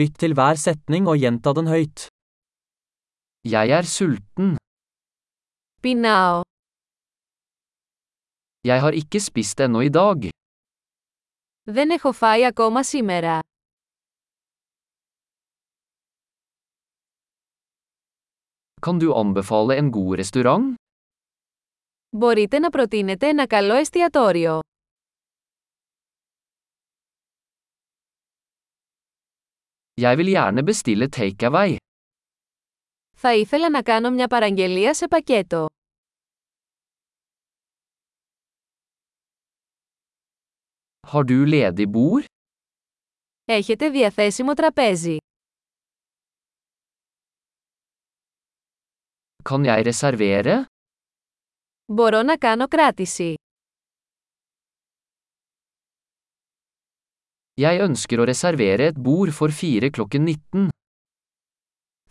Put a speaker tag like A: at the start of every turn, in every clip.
A: Lytt til hver setning og gjenta den høyt. Jeg er sulten.
B: Πεινάω.
A: Jeg har ikke spist ennå i dag.
B: Δεν έχω φάει ακόμα σήμερα.
A: Kan du anbefale en god restaurant?
B: Μπορείτε να προτείνετε ένα καλό εστιατόριο.
A: Jeg vil gjerne bestille takeaway.
B: Θα ήθελα να κάνω μια παραγγελία σε πακέτο.
A: Har du ledig bord?
B: Έχετε διαθέσιμο τραπέζι.
A: Kan jeg reservere?
B: Μπορώ να κάνω κράτηση.
A: Jeg ønsker å reservere et bord for 4 klokken 19.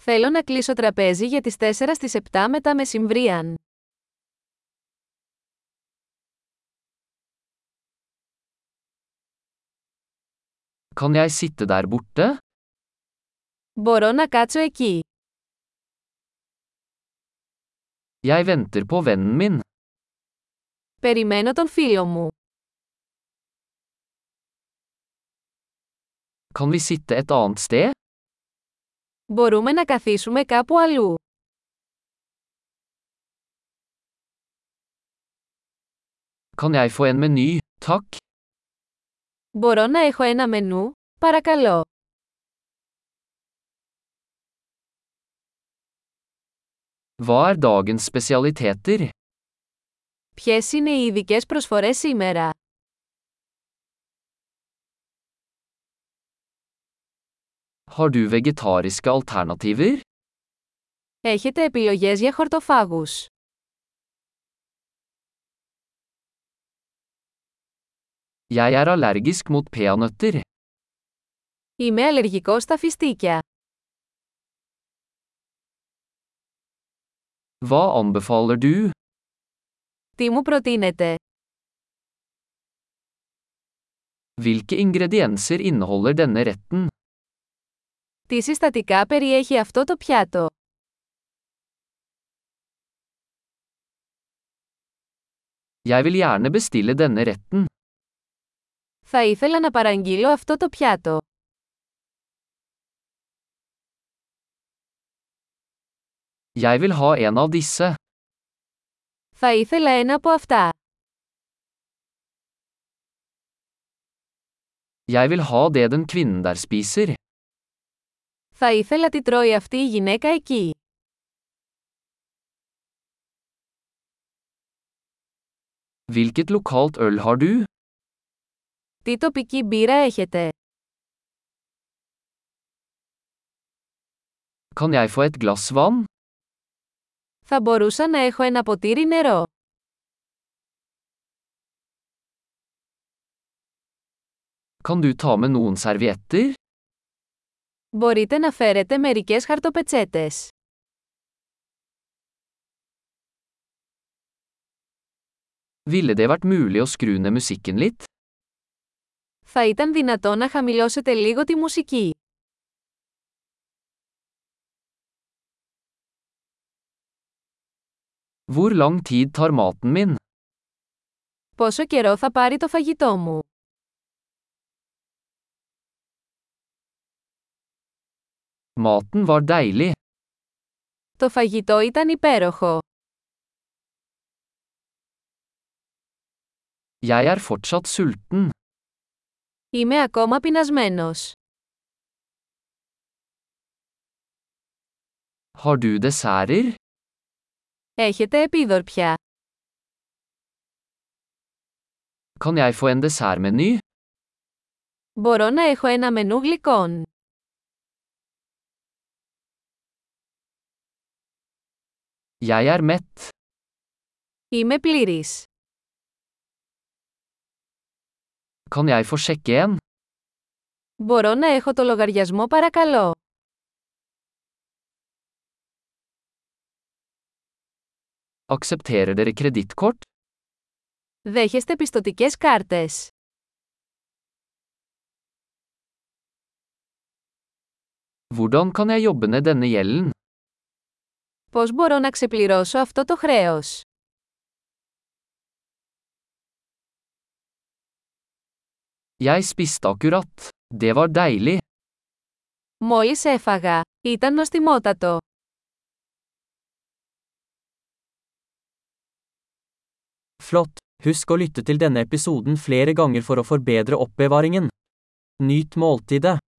B: Θέλω να κλείσω τραπέζι για τις 4 στις 7 μετά μεσημβρίαν.
A: Kan jeg sitte der borte?
B: Μπορώ να κάτσω εκεί.
A: Jeg venter på vennen min.
B: Περιμένω τον φίλο μου.
A: Kan vi sitte et annet sted?
B: Μπορούμε να καθίσουμε κάπου αλλού.
A: Kan jeg få en meny? Takk.
B: Μπορώ να έχω ένα μενού, παρακαλώ.
A: Hva er dagens spesialiteter?
B: Ποιες είναι οι ειδικέ προσφορές σήμερα.
A: Har du vegetariske alternativer?
B: Έχετε επιλογές για χορτοφάγους.
A: Jeg er allergisk mot peanøtter.
B: Είμαι αλλεργικός στα φιστίκια.
A: Hva anbefaler du?
B: Τι μου προτείνετε.
A: Hvilke ingredienser inneholder denne retten?
B: Τι συστατικά περιέχει αυτό το πιάτο.
A: Jeg vil gjerne bestille denne retten.
B: Θα ήθελα να παραγγείλω αυτό το πιάτο.
A: Jeg vil ha en av disse.
B: Θα ήθελα ένα από αυτά.
A: Jeg vil ha det den kvinnen der spiser.
B: Θα ήθελα τι τρώει αυτή η γυναίκα εκεί.
A: Hvilket lokalt øl har du?
B: Τι τοπική μπύρα έχετε.
A: Kan jeg få et glass vann?
B: Θα μπορούσα να έχω ένα ποτήρι νερό.
A: Kan du ta med noen servietter?
B: Μπορείτε να φέρετε μερικές χαρτοπετσέτες.
A: Ville det vært mulig å skru ned musikken litt?
B: Θα ήταν δυνατό να χαμηλώσετε λίγο τη μουσική.
A: Hvor lang tid tar maten min?
B: Πόσο καιρό θα πάρει το φαγητό μου.
A: Maten var deilig.
B: Το φαγητό ήταν υπέροχο.
A: Jeg er fortsatt sulten.
B: Είμαι ακόμα πεινασμένος.
A: Har du desserter?
B: Έχετε επίδορπια.
A: Kan jeg få en dessertmeny?
B: Μπορώ να έχω ένα μενού γλυκών.
A: Jeg er mett.
B: Είμαι πλήρης.
A: Kan jeg få sjekke en?
B: Μπορώ να έχω το λογαριασμό παρακαλώ.
A: Aksepterer dere kredittkort?
B: Δέχεστε πιστοτικές κάρτες.
A: Hvordan kan jeg jobbe ned denne gjelden?
B: Πώς μπορώ να ξεπληρώσω αυτό το χρέος?
A: Jeg spiste akkurat. Det var deilig.
B: Μόλις έφαγα. Ήταν νοστιμότατο.
A: Flott. Husk å lytte til denne episoden flere ganger for å forbedre oppbevaringen. Nyt måltidet.